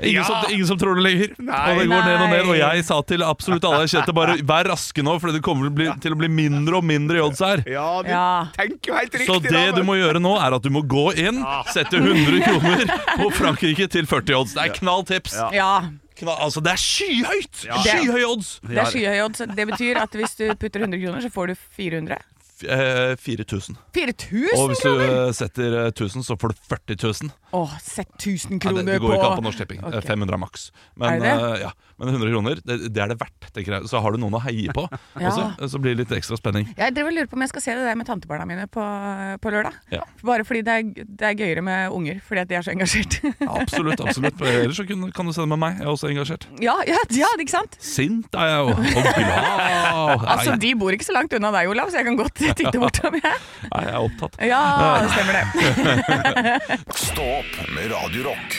Speaker 3: Ingen, som, ingen som tror det lenger. og det går ned og ned. Og jeg sa til absolutt alle jeg kjente, bare vær raske nå, for det kommer til å bli, til å bli mindre og mindre i odds her.
Speaker 4: Ja, du
Speaker 2: Ja.
Speaker 4: tenker jo helt riktig.
Speaker 3: Så det du må gjøre nå, er at du må gå inn, sette 100 kroner på Frankrike til 40 odds. Det er knall tips.
Speaker 2: ja.
Speaker 3: Knall, altså, det er skyhøyt! Skyhøye odds!
Speaker 2: Det er skyhøye odds. Det betyr at hvis du putter 100 kroner, så får du 400.
Speaker 3: F- eh, 4000.
Speaker 2: 4000
Speaker 3: Og hvis du
Speaker 2: kroner!
Speaker 3: eh, setter eh, 1000, så får du 40 000.
Speaker 2: Å, sett 1000
Speaker 3: Nei, det,
Speaker 2: kroner
Speaker 3: det går
Speaker 2: på
Speaker 3: ikke an på Norsk Tipping. Eh,
Speaker 2: Ok.
Speaker 3: 500 er maks.
Speaker 2: Er
Speaker 3: Men,
Speaker 2: det det?
Speaker 3: eh, ja. Men 100 kroner, det, det er det verdt. tenker jeg. Så har du noen å heie
Speaker 2: <laughs>
Speaker 3: på.
Speaker 2: Ja.
Speaker 3: også, eh, så blir det litt ekstra spenning.
Speaker 2: Jeg driver og lurer på om jeg skal se det der med tantebarna mine på, på lørdag.
Speaker 3: Ja.
Speaker 2: Bare fordi det er, det er gøyere med unger, fordi at de er så engasjert.
Speaker 3: Absolutt. absolutt. Ellers så kan, kan du sende med meg. Jeg er også engasjert.
Speaker 2: ja, ja, ja, ikke sant?
Speaker 3: Sint er jeg jo. Og glad. Nei,
Speaker 2: Altså,
Speaker 3: jeg,
Speaker 2: De bor ikke så langt unna deg, Olav, så jeg
Speaker 3: <laughs>
Speaker 2: kan godt titte bortom, jeg.
Speaker 3: nei, jeg er opptatt.
Speaker 2: Ja, det stemmer det.
Speaker 1: Stå opp med Radio Rock.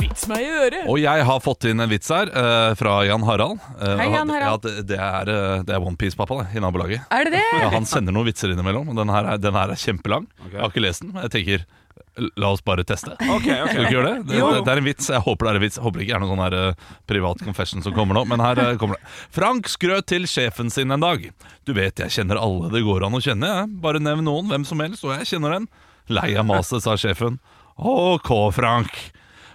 Speaker 2: Vits meg i øret.
Speaker 3: Og jeg har fått inn en vits her eh, fra Jan Harald. Eh,
Speaker 2: Hei,
Speaker 3: og-
Speaker 2: Jan Harald.
Speaker 3: Ja, det, det er, eh, det er OnePiece-pappa det, i nabolaget.
Speaker 2: Er det
Speaker 3: Ja,
Speaker 2: det?
Speaker 3: han sender noen vitser innimellom, og den her er, den her er kjempelang. Jeg har ikke lest den, men jeg tenker La oss bare teste. Skal vi ikke gjøre det? Det, det, det er en vits. Jeg håper det er en vits. Jeg håper det ikke er noen sånn her eh, privat confession som kommer nå, men her eh, kommer det. Frank skrøt til sjefen sin en dag. Du vet, jeg kjenner alle det går an å kjenne, jeg. Bare nevn noen, hvem som helst, og jeg kjenner den. Lei av maset, sa sjefen. Ok, Frank.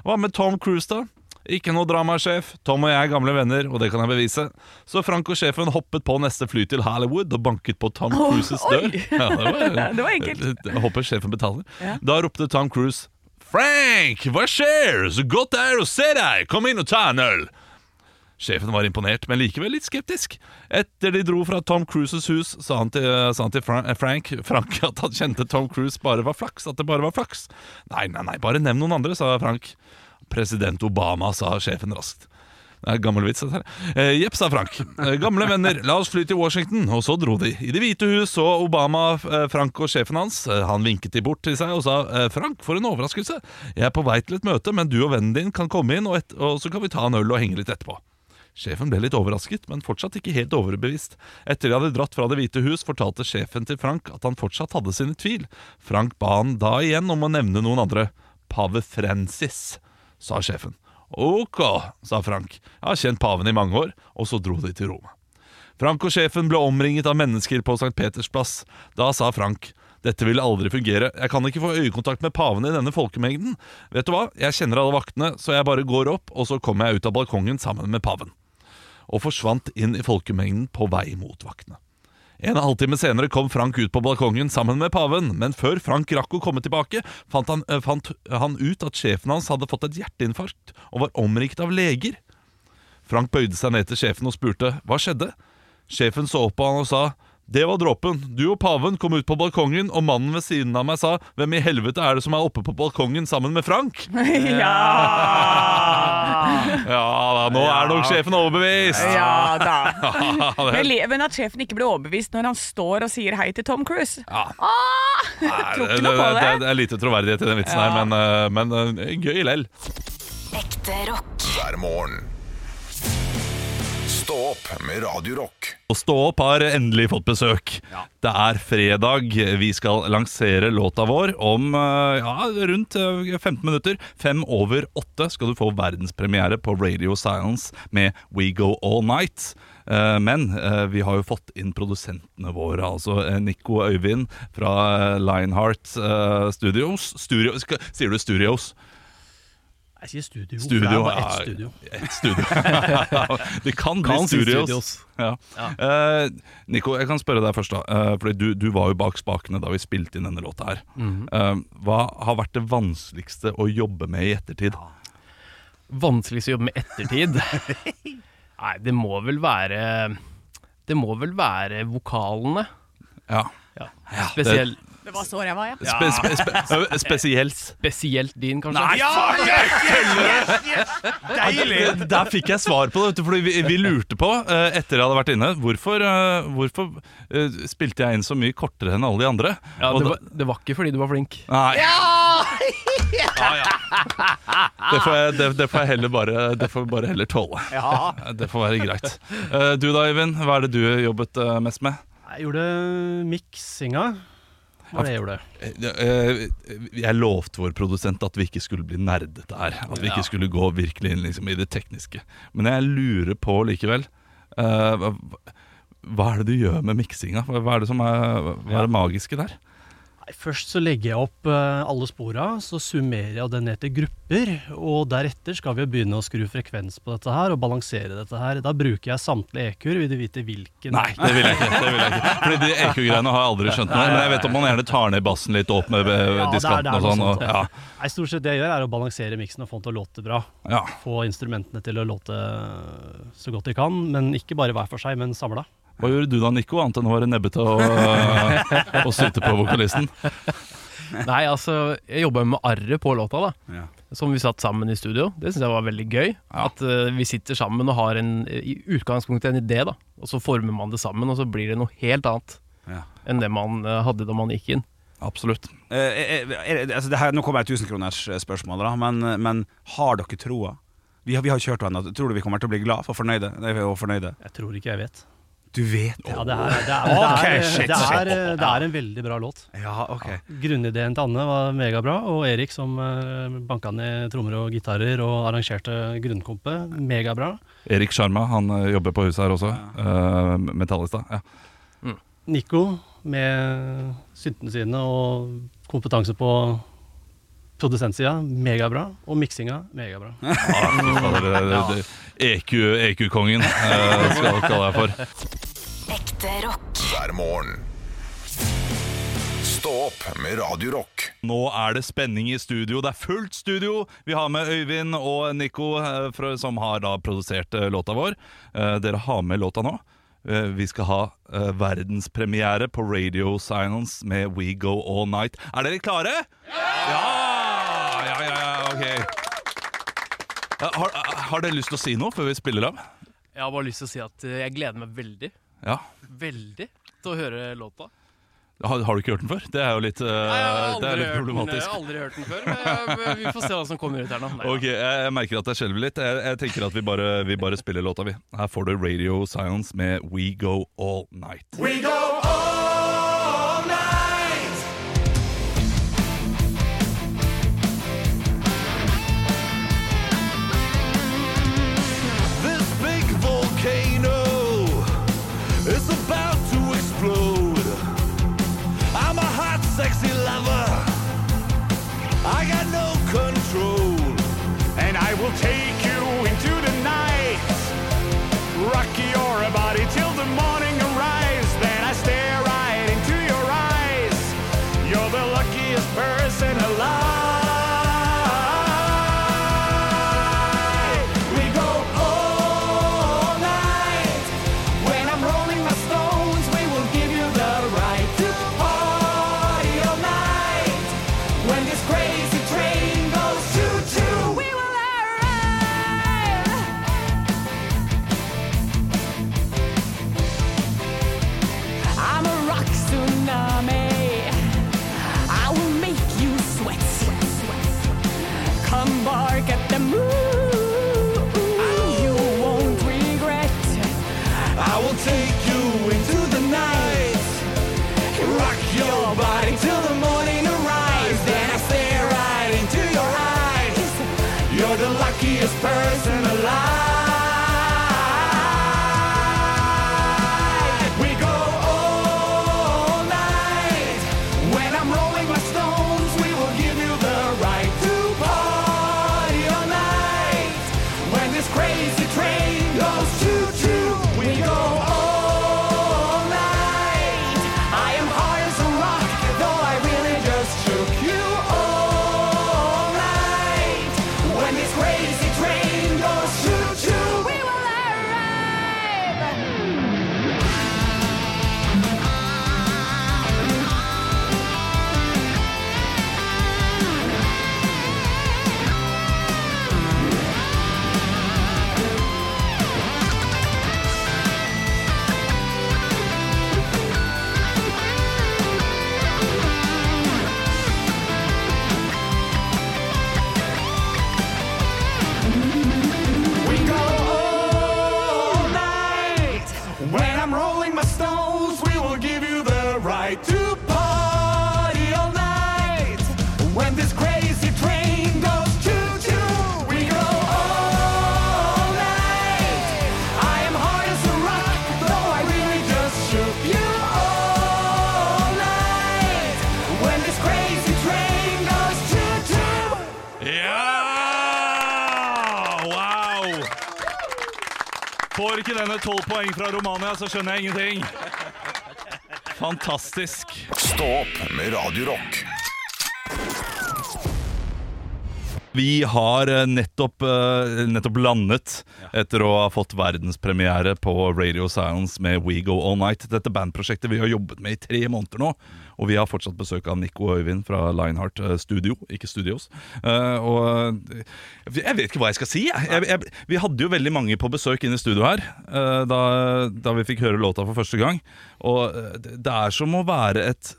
Speaker 3: Hva med Tom Cruise, da? Ikke noe drama, sjef. Tom og jeg er gamle venner, og det kan jeg bevise. Så Frank og sjefen hoppet på neste fly til Hollywood og banket på Tom Cruises dør. <laughs> Ja,
Speaker 2: Det var enkelt.
Speaker 3: Jeg håper sjefen betaler. Da ropte Tom Cruise Frank, hva skjer? Så godt det er å se deg! Kom inn og ta en øl! Sjefen var imponert, men likevel litt skeptisk. Etter de dro fra Tom Cruises hus, sa han til, sa han til Fra- eh, Frank, <laughs> Frank at han kjente Tom Cruise bare var flaks. At det bare var flaks. Nei, nei, nei, bare nevn noen andre, sa Frank. President Obama, sa sjefen raskt. Det er gammel vits, dette her. Eh, Jepp, sa Frank. Eh, gamle venner, la oss fly til Washington. Og så dro de. I Det hvite hus så Obama eh, Frank og sjefen hans. Eh, han vinket de bort til seg og sa eh, Frank, for en overraskelse. Jeg er på vei til et møte, men du og vennen din kan komme inn, og, et og så kan vi ta en øl og henge litt etterpå. Sjefen ble litt overrasket, men fortsatt ikke helt overbevist. Etter de hadde dratt fra Det hvite hus, fortalte sjefen til Frank at han fortsatt hadde sine tvil. Frank ba han da igjen om å nevne noen andre. Pave Francis, sa sjefen. Ok, sa Frank. Jeg har kjent paven i mange år, og så dro de til Roma. Frank og sjefen ble omringet av mennesker på St. Peters plass. Da sa Frank dette ville aldri fungere. Jeg kan ikke få øyekontakt med paven i denne folkemengden. Vet du hva? Jeg kjenner alle vaktene, så jeg bare går opp, og så kommer jeg ut av balkongen sammen med paven. Og forsvant inn i folkemengden på vei mot vaktene. En halvtime senere kom Frank ut på balkongen sammen med paven, men før Frank rakk å komme tilbake, fant han, eh, fant han ut at sjefen hans hadde fått et hjerteinfarkt og var omringet av leger. Frank bøyde seg ned til sjefen og spurte hva skjedde. Sjefen så opp på han og sa det var dråpen. Du og paven kom ut på balkongen, og mannen ved siden av meg sa 'Hvem i helvete er det som er oppe på balkongen sammen med
Speaker 2: <laughs>
Speaker 3: Frank?'
Speaker 4: Ah.
Speaker 2: Ja!
Speaker 3: Ja da, nå er nok sjefen overbevist!
Speaker 2: <laughs> Ja da.
Speaker 3: <laughs> Ja,
Speaker 2: Men, jeg
Speaker 3: det,
Speaker 2: le- men at sjefen ikke ble overbevist når han står og sier hei til Tom Cruise
Speaker 3: Ja.
Speaker 2: ah, Tror
Speaker 3: det,
Speaker 2: ikke
Speaker 3: det,
Speaker 2: noe på det.
Speaker 3: det er lite troverdighet i den vitsen her, men, eh, men eh, gøy lell.
Speaker 6: Ekte rock.
Speaker 1: hver morgen. Stå opp med Radio Rock.
Speaker 3: Og Stå opp har endelig fått besøk. Det er fredag. Vi skal lansere låta vår om eh, ja, rundt eh, 15 minutter. Fem over åtte skal du få verdenspremiere på Radio Silence med We Go All Night. Eh, Men eh, vi har jo fått inn produsentene våre, altså eh, Nico og Øyvind fra eh, Lionheart eh, Studios. Studio, skal, sier du Studios?
Speaker 5: Jeg sier studio. for
Speaker 3: Studio,
Speaker 5: det er bare
Speaker 3: ja.
Speaker 5: ett studio.
Speaker 3: Et studio. <laughs> det kan bli
Speaker 5: Kan si
Speaker 3: Studios.
Speaker 5: studios.
Speaker 3: Ja. Eh, Nico, jeg kan spørre deg først. da eh, Fordi du, du var jo bak spakene da vi spilte inn denne låta her. Eh, hva har vært det vanskeligste å jobbe med i ettertid?
Speaker 5: Vanskeligst å jobbe
Speaker 3: <laughs>
Speaker 5: med ettertid. Nei, det må vel være Det må vel være vokalene.
Speaker 3: Ja,
Speaker 5: Ja.
Speaker 3: det-
Speaker 5: Spesielt,
Speaker 2: Det var så ræva, ja.
Speaker 3: Spe, spe, spe, eh,
Speaker 5: <laughs>
Speaker 3: Spesielt.
Speaker 5: spesielt din, kanskje. Nei,
Speaker 3: Der, Eh, der fikk jeg svar på det, vet du, fordi vi, vi lurte på, eh, etter jeg hadde vært inne, hvorfor, eh, hvorfor eh, spilte jeg inn så mye kortere enn alle de andre?
Speaker 5: ja,
Speaker 3: Og
Speaker 5: det,
Speaker 3: da-
Speaker 5: var, det var ikke fordi du var flink.
Speaker 3: Nei. <laughs> Ja, ja. Det, får jeg, det, det får jeg heller bare, det får jeg bare heller tåle. Det får være greit. Eh, Du da, Øyvind. Hva er det du jobbet eh, mest med?
Speaker 5: Jeg gjorde miksinga. Var det jeg gjorde.
Speaker 3: Eh, Jeg lovte vår produsent at vi ikke skulle bli nerdete her. At vi ikke skulle gå virkelig inn liksom, i det tekniske. Men jeg lurer på likevel eh, hva- Hva er det du gjør med miksinga? Hva hva er det som er, hva er det magiske der?
Speaker 5: Nei, Først så legger jeg opp eh, alle spora, så summerer jeg det ned til grupper. Og deretter skal vi jo begynne å skru frekvens på dette her og balansere dette her. Da bruker jeg samtlige EQ-er. Vil du vite hvilken?
Speaker 3: Nei, det vil jeg ikke. Det vil jeg ikke. Fordi de EQ-greiene har jeg aldri skjønt noe av, Men jeg vet om man gjerne tar ned bassen litt opp med eh,
Speaker 5: Ja, det er- det
Speaker 3: diskanten
Speaker 5: er
Speaker 3: og
Speaker 5: noe
Speaker 3: sånn.
Speaker 5: sånt,
Speaker 3: Og, ja,
Speaker 5: ja. Nei, Stort sett det jeg gjør, er å balansere miksen og få den til å låte bra.
Speaker 3: ja.
Speaker 5: Få instrumentene til å låte eh, så godt de kan, men ikke bare hver for seg, men samla.
Speaker 3: Hva gjorde du da, Nico, annet enn å være nebbete
Speaker 5: <laughs>
Speaker 3: og, eh, og sitte på vokalisten?
Speaker 5: Nei, altså, jeg jobba med arret på låta, da.
Speaker 4: Ja.
Speaker 5: Som vi satt sammen i studio. Det syns jeg var veldig gøy. At eh, vi sitter sammen og har en, i utgangspunktet en idé, da. Og så former man det sammen, og så blir det noe helt annet
Speaker 4: Ja.
Speaker 5: enn det man eh, hadde da man gikk inn.
Speaker 3: Absolutt.
Speaker 4: Eh, eh, er, det- altså det her, nå kommer jeg et tusenkronersspørsmål, da, men, eh, men har dere troa? Vi har, vi har kjørt hverandre. Tror du vi kommer til å bli glad for fornøyde? Nei, Og fornøyde?
Speaker 5: Jeg tror ikke jeg vet.
Speaker 4: Du vet det.
Speaker 5: Ja, det er, det er, det
Speaker 4: Ok,
Speaker 5: er,
Speaker 4: shit,
Speaker 5: det
Speaker 4: shit.
Speaker 5: er, eh, det er en veldig bra låt.
Speaker 4: Ja, ok.
Speaker 5: Grunnideen til Anne var megabra, og Erik som eh, banka ned trommer og gitarer og arrangerte grunnkompet, megabra.
Speaker 3: Erik Sjarma, han eh, jobber på huset her også. eh, Metallista. Ja.
Speaker 5: Nico med syntene sine og kompetanse på produsentsida, megabra. Og miksinga,
Speaker 10: <laughs>
Speaker 5: megabra.
Speaker 3: Ah, fy fader, det- det- E det- EQ- EQ-kongen eh, skal kalle jeg for.
Speaker 6: Ekte rock.
Speaker 1: hver morgen. Stå opp med Radio Rock.
Speaker 3: Nå er det spenning i studio. Det er fullt studio! Vi har med Øyvind og Nico, eh, fra- som har da produsert eh, låta vår. Eh, Dere har med låta nå. Eh, Vi skal ha eh, verdenspremiere på Radio Silence med We Go All Night. Er dere klare? Ja! Ja, ja, ja, ok. Eh, Har, eh, har dere lyst til å si noe før vi spiller av?
Speaker 5: Jeg har bare lyst til å si at eh, jeg gleder meg veldig,
Speaker 3: Ja.
Speaker 5: veldig til å høre låta.
Speaker 3: Har, har du ikke hørt den før? Det er jo litt, eh, det er litt problematisk.
Speaker 5: eh,
Speaker 10: aldri hørt den før, men vi får se hva som kommer ut her nå.
Speaker 3: Ok, jeg, jeg merker at jeg skjelver litt. Jeg, jeg tenker at vi bare, vi bare spiller låta, vi. Her får du Radio Science med We Go All Night.
Speaker 8: We go all night.
Speaker 11: This big volcano is about to explode. I'm a hot, sexy lover. I got no control. And I will take you into the night. Rock your body till the morning arrives. Then I stare right into your eyes. You're the luckiest person alive. We go all night.
Speaker 8: When I'm rolling my stones, we will give you the right to party all night. When this crazy train goes choo choo, we will arrive. I'm a rock tsunami. I will make you sweat. Come bark at the moon. You won't regret.
Speaker 11: I will take you into the night. Rock your body till the morning arrives. Then I stare right into your eyes. You're the luckiest person alive. We go all night.
Speaker 8: When I'm rolling my stones, we will give you the right to party all night. When this crazy train goes choo choo, we go all night. I am hard as a rock, though I really just shook you all night. When this crazy train goes choo choo, we will arrive.
Speaker 11: We go
Speaker 8: all night. When I'm rolling my stones, we will give you the right to party all night. When this crazy train goes choo choo, we go all night. I am hard as a rock, though I really just shook you all night. When this crazy train goes choo choo.
Speaker 3: Ja! Wow! Får ikke denne tolv poeng fra Romania, så skjønner jeg ingenting. Fantastisk.
Speaker 1: Stå opp med Radio Rock.
Speaker 3: Vi har eh, nettopp, eh, nettopp landet etter å ha fått verdenspremiere på Radio Science med We Go All Night. Dette bandprosjektet vi har jobbet med i tre måneder nå. Og vi har fortsatt besøk av Nico og Øyvind fra Lionheart eh, Studio, ikke Studios. Eh, og eh, jeg vet ikke hva jeg skal si. Jeg. Jeg, jeg, vi hadde jo veldig mange på besøk inne i studio her eh, da, da vi fikk høre låta for første gang. Og eh, det det er som å være et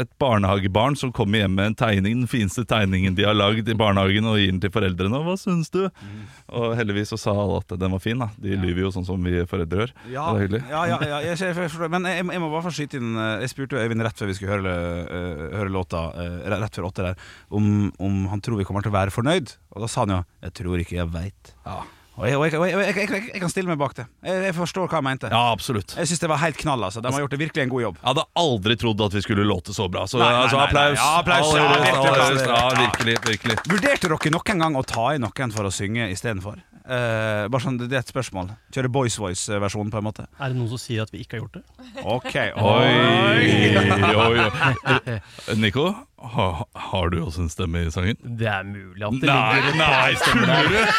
Speaker 3: et barnehagebarn som kommer hjem med en tegning, den fineste tegningen de har lagd i barnehagen, og gir den til foreldrene. Og 'Hva syns du?'
Speaker 4: Mm.
Speaker 3: Og heldigvis så sa alle at den var fin. da De lyver jo sånn som vi foreldre gjør.
Speaker 4: Ja,
Speaker 3: Det er hyggelig.
Speaker 4: ja, ja, ja jeg, jeg forstår det. Men jeg, jeg må bare få skyte inn eh, Jeg spurte jo Øyvind rett før vi skulle høre, eh, høre låta, eh, rett før åtte der, om, om han tror vi kommer til å være fornøyd. Og da sa han jo 'jeg tror ikke jeg veit'. Og, jeg, og, jeg, og jeg, jeg, jeg, jeg kan stille meg bak det. Jeg, jeg forstår hva han mente.
Speaker 3: Ja, absolutt.
Speaker 4: Jeg syns det var helt knall. altså De har gjort det virkelig en god jobb.
Speaker 3: Jeg hadde aldri trodd at vi skulle låte så bra, så
Speaker 4: Nei, nei,
Speaker 3: altså,
Speaker 4: nei, nei.
Speaker 3: applaus.
Speaker 4: Ja, applaus.
Speaker 3: All
Speaker 4: Ja,
Speaker 3: høyres,
Speaker 4: virkelig
Speaker 3: all
Speaker 4: applaus.
Speaker 3: høyres. Ja, virkelig, virkelig.
Speaker 4: Vurderte dere noen gang å ta inn noen for å synge istedenfor? Uh, bare sånn, det er et spørsmål. Kjøre Boys Voice-versjonen, på en måte.
Speaker 5: Er det noen som sier at vi ikke har gjort det?
Speaker 4: Ok,
Speaker 3: Oi, oi, oi. Nico, ha, har du også en stemme i sangen?
Speaker 10: Det er mulig at
Speaker 3: det ligger et par stemmer der.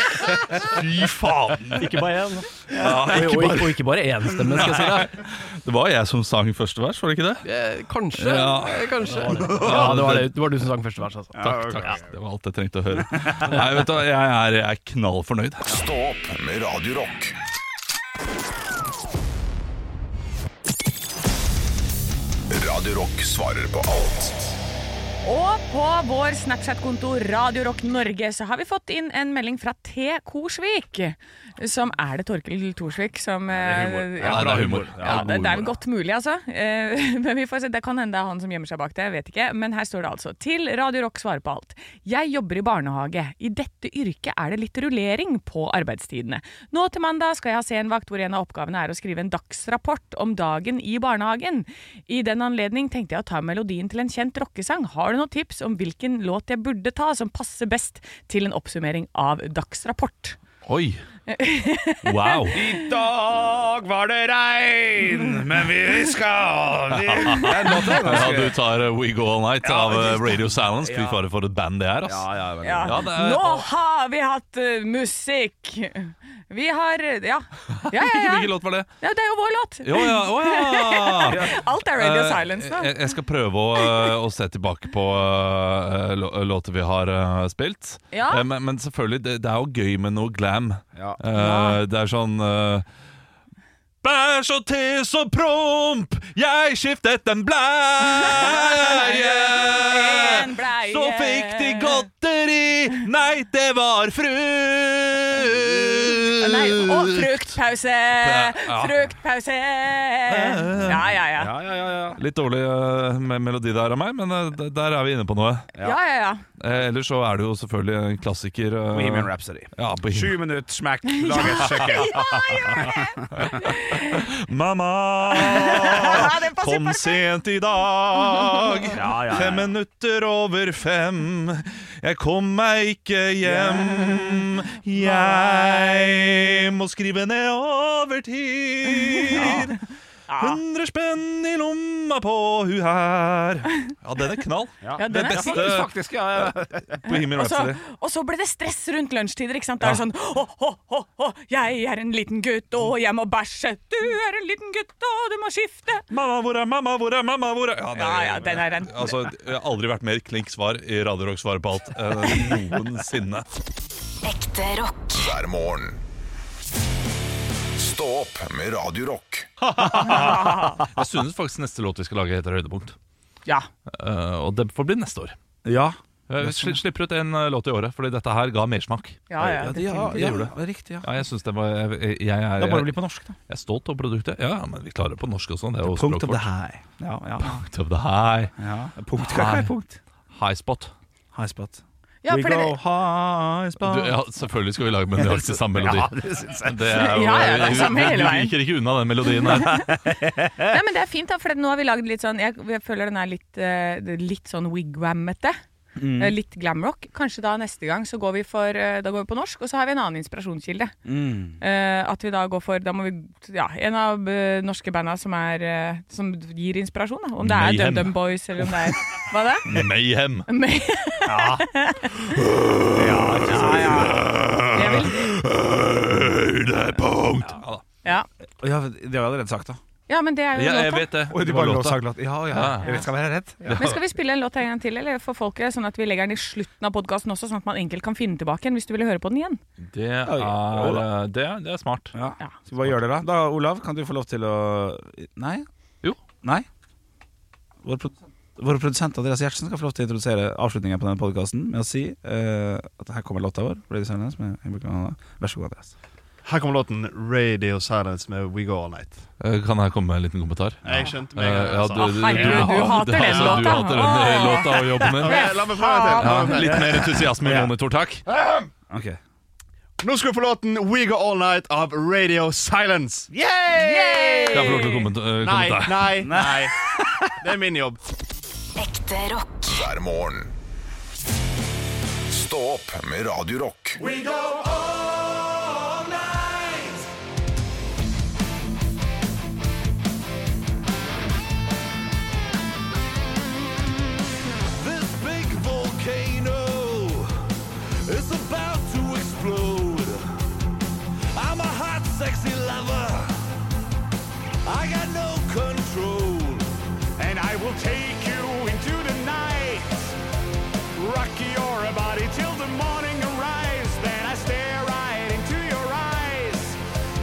Speaker 3: Fy faen!
Speaker 10: Ikke bare én.
Speaker 3: Ja,
Speaker 10: Og- og- og ikke bare én stemme, skal jeg si deg.
Speaker 3: Nei. Det var jeg som sang første vers, var det ikke det?
Speaker 10: Eh, Kanskje.
Speaker 3: Ja.
Speaker 10: eh, kanskje. Ja, det var, det. det var du som sang første vers, altså.
Speaker 3: Takk, takk. Det var alt jeg trengte å høre. Nei, vet du, hva, jeg er, jeg er knallfornøyd.
Speaker 1: Stå opp med Radio Rock. Radio Radio Rock svarer på alt.
Speaker 2: Og på vår Snapchat-konto Radio Rock Norge så har vi fått inn en melding fra T. Korsvik. Som er det Torkel Thorsvik som eh,
Speaker 3: Ja, det er humor.
Speaker 2: Ja, det, det er godt mulig, altså. Eh, <laughs> Men vi får se. Det kan hende det er han som gjemmer seg bak det. jeg vet ikke. Men her står det altså til Radio Rock svarer på alt. Jeg jobber i barnehage. I dette yrket er det litt rullering på arbeidstidene. Nå til mandag skal jeg ha senvakt hvor en av oppgavene er å skrive en dagsrapport om dagen i barnehagen. I den anledning tenkte jeg å ta melodien til en kjent rockesang. Har du noen tips om hvilken låt jeg burde ta som passer best til en oppsummering av dagsrapport?
Speaker 3: Oi! Wow.
Speaker 4: I dag var det regn, men vi <laughs> skal vi, Det er en låt, det.
Speaker 3: Ja, du tar eh, We Go All Night av eh, Radio Silence. Fy
Speaker 2: Ja.
Speaker 3: fare for et band det er, ass.
Speaker 4: Ja, ja,
Speaker 2: Ja.
Speaker 3: det er,
Speaker 2: Nå har vi hatt eh, musikk! Vi har eh,
Speaker 3: <laughs>
Speaker 2: Ja. ja, ja, ja.
Speaker 3: Hvilken låt var det?
Speaker 2: Ja, det er jo vår låt!
Speaker 3: Jo, ja,
Speaker 2: <laughs>
Speaker 3: å, ja.
Speaker 2: Alt er Radio
Speaker 3: Eh,
Speaker 2: Silence, da.
Speaker 3: Jeg, jeg skal prøve å, eh, å se tilbake på eh, lå- låter vi har eh, spilt.
Speaker 2: Ja.
Speaker 3: Eh, men, men selvfølgelig, det, det er jo gøy med noe glam. Eh, det er sånn eh, Bæsj og tiss og promp, jeg skiftet en bleie. Så fikk de godteri, nei, det var frukt.
Speaker 2: Nei, og fruktpause!
Speaker 3: Ja. Eh.
Speaker 2: Fruktpause! Ja, ja, ja.
Speaker 3: Litt dårlig eh, med melodi der av meg, men eh, d- der er vi inne på noe.
Speaker 2: Ja, ja, ja.
Speaker 3: Eh, ellers så er det jo selvfølgelig en klassiker. eh,
Speaker 4: Bohemian Rhapsody.
Speaker 3: Ja, Bohemian.
Speaker 4: Sju minutter, smekk, lag et søkke.
Speaker 3: Ah,
Speaker 4: <laughs>
Speaker 3: Mamma, kom sent i dag.
Speaker 4: <laughs> Ja, ja, ja.
Speaker 3: Fem minutter over fem. Jeg kom meg ikke hjem. Jeg må skrive ned
Speaker 4: <laughs>
Speaker 3: overtid. Hundre spenn i lomma på hu
Speaker 4: <laughs>
Speaker 3: her. Ja, den er knall.
Speaker 2: Ja, den
Speaker 3: det
Speaker 2: er Altså,
Speaker 3: beste
Speaker 2: fin,
Speaker 4: faktisk, ja,
Speaker 3: ja. Bohemian
Speaker 2: <laughs> Og så,
Speaker 3: Rhapsody.
Speaker 2: og så ble det stress rundt lunsjtider. ikke sant? Da er det sånn «Å, å, å, å, Jeg er en liten gutt, og jeg må bæsje. Du er en liten gutt, og du må skifte.
Speaker 3: Mamma, hvor er mamma, hvor er mamma, hvor er Ja,
Speaker 2: ja, ja, den er den.
Speaker 3: Altså, Jeg har aldri vært mer klink svar i Radio Rock svarer på alt eh, noensinne.
Speaker 6: Ekte rock.
Speaker 1: Hver morgen. Stå opp med Radio Rock.
Speaker 3: Jeg synes faktisk neste låt vi skal lage heter Høydepunkt.
Speaker 2: Ja.
Speaker 3: Eh, og det får bli neste år.
Speaker 4: Ja.
Speaker 3: Eh, vi sli- slipper ut en eh, låt i året, fordi dette her ga mersmak.
Speaker 4: Ja,
Speaker 3: det,
Speaker 4: ja,
Speaker 3: ja,
Speaker 4: definitivt.
Speaker 3: det gjorde
Speaker 4: Ja,
Speaker 3: det.
Speaker 4: riktig, ja.
Speaker 3: jeg synes det var jeg, jeg, jeg er,
Speaker 4: Da må det bli på norsk, da.
Speaker 3: Jeg er stolt over produktet. Ja, ja, men vi klarer det på norsk også. Det er jo
Speaker 4: Punkt of
Speaker 3: språk
Speaker 4: the
Speaker 3: vårt.
Speaker 4: high. Ja, ja.
Speaker 3: Punkt of the high.
Speaker 4: Punkt, hva er
Speaker 3: High.
Speaker 4: punkt?
Speaker 3: High spot.
Speaker 4: High spot.
Speaker 2: Ja,
Speaker 4: We
Speaker 2: for det-
Speaker 4: go high spot.
Speaker 3: Du, ja, selvfølgelig skal vi lage med nøyaktig samme melodi.
Speaker 4: Ja, det synes jeg.
Speaker 3: Det er jo,
Speaker 2: Ja, ja, det er samme hele
Speaker 3: du, du
Speaker 2: veien.
Speaker 3: viker ikke unna den melodien her.
Speaker 2: Nei, men Det er fint, da, for nå har vi lagd litt sånn Jeg, jeg føler den er litt, eh, det er litt sånn wigwamete.
Speaker 3: Mm.
Speaker 2: Eh, Litt glamrock. Kanskje da neste gang så går vi for eh, Da går vi på norsk, og så har vi en annen inspirasjonskilde. Eh, at vi da går for Da må vi Ja, en av eh, norske banda som er eh, Som gir inspirasjon, da. Om det er
Speaker 3: Mayhem.
Speaker 2: DumDum Boys, eller om det er Hva det?
Speaker 3: Mayhem.
Speaker 2: May
Speaker 3: Ja.
Speaker 2: <laughs>
Speaker 4: Høydepunkt!
Speaker 2: ja.
Speaker 4: Ja, det har jeg allerede sagt, da.
Speaker 2: ja, men det er jo låta.
Speaker 4: Oi, du
Speaker 3: Det var
Speaker 4: bare
Speaker 3: låta.
Speaker 4: sagt låt. Ja, ja.
Speaker 3: Ja.
Speaker 4: Jeg vet, skal være redd. Ja.
Speaker 2: Men skal vi spille en låt en gang til Eller for folket, sånn at vi legger den i slutten av podkasten også, sånn at man enkelt kan finne tilbake igjen hvis du ville høre på den igjen?
Speaker 3: Det er, eh, det, er- det er smart.
Speaker 4: Skal vi bare gjøre det, da? Da, Olav, kan du få lov til å Nei?
Speaker 3: Jo.
Speaker 4: Nei? Vår, pro vår produsent Andreas Gjertsen skal få lov til å introdusere avslutningen på denne podkasten med å si eh, at her kommer låta vår. Lady Silence, med Henrik Anna. Vær så god, Andreas.
Speaker 12: Her kommer låten 'Radio Silence' med We Go All Night.
Speaker 3: Eh, Kan jeg komme med en liten kommentar?
Speaker 12: Jeg skjønte meg
Speaker 3: Eh,
Speaker 12: en gang,
Speaker 3: ja,
Speaker 12: altså.
Speaker 3: du, du, du,
Speaker 12: Å, herregud, du
Speaker 3: ja,
Speaker 12: hater
Speaker 3: det-
Speaker 12: den
Speaker 3: altså, Du
Speaker 12: låta.
Speaker 3: hater den eh,
Speaker 12: Åh.
Speaker 3: låta og jobben din.
Speaker 12: Ok, la meg få en til.
Speaker 3: Ja, litt mer entusiasme i monitor, takk.
Speaker 12: Nå skal du få låten 'We Go All Night' av Radio Silence.
Speaker 6: Yay!
Speaker 3: Kan jeg få lov til å komment- eh,
Speaker 12: Nei,
Speaker 3: kommentar?
Speaker 12: nei, <laughs> nei. Det er min jobb.
Speaker 6: Ekte rock.
Speaker 1: Hver morgen. Stå opp med Radio Rock.
Speaker 8: We go all night.
Speaker 11: This big volcano is about to explode. I'm a hot, sexy lover. I got no control.
Speaker 8: And I will take you into the night. Rock your body till the morning arrives. Then I stare right into your eyes.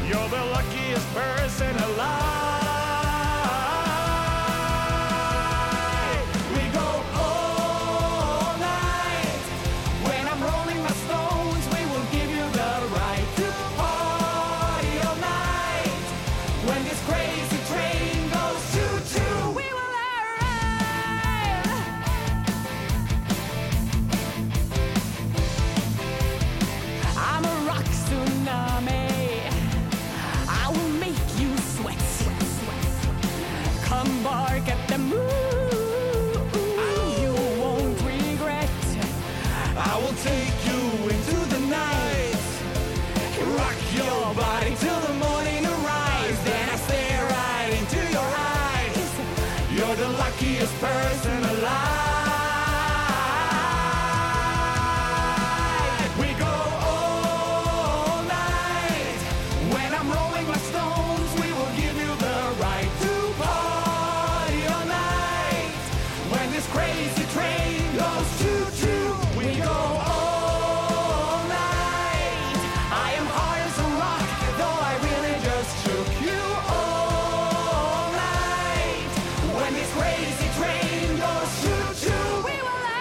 Speaker 8: You're the luckiest person alive. crazy train goes choo-choo. We will arrive. I'm a rock tsunami. I will make you sweat. Come bark at the moon. You won't regret.
Speaker 11: I will take you into the night. Rock your body till the morning arrives. Then I stare right into your eyes. You're the luckiest person alive. We go all night.
Speaker 8: When I'm rolling my stones, we will give you the right to party all night. When this crazy train goes choo-choo, we go all night. I am hard as a rock, though I really just shook you all night. When this crazy train goes choo-choo, we will arrive.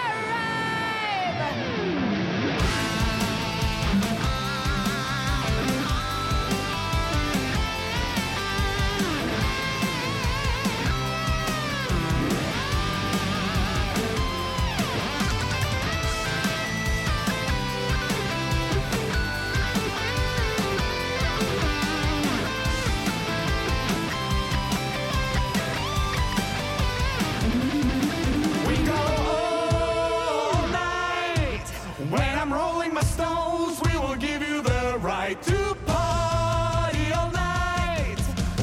Speaker 8: We go all night. When I'm rolling my stones, we will give you the right to party all night.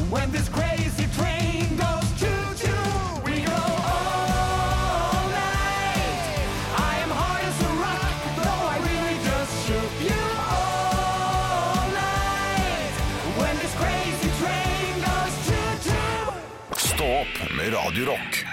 Speaker 8: When this crazy train goes choo-choo, we go all night. I am hard as a rock, though I really just shook you all night. When this crazy train goes choo-choo.
Speaker 1: Stå opp med Radio Rock.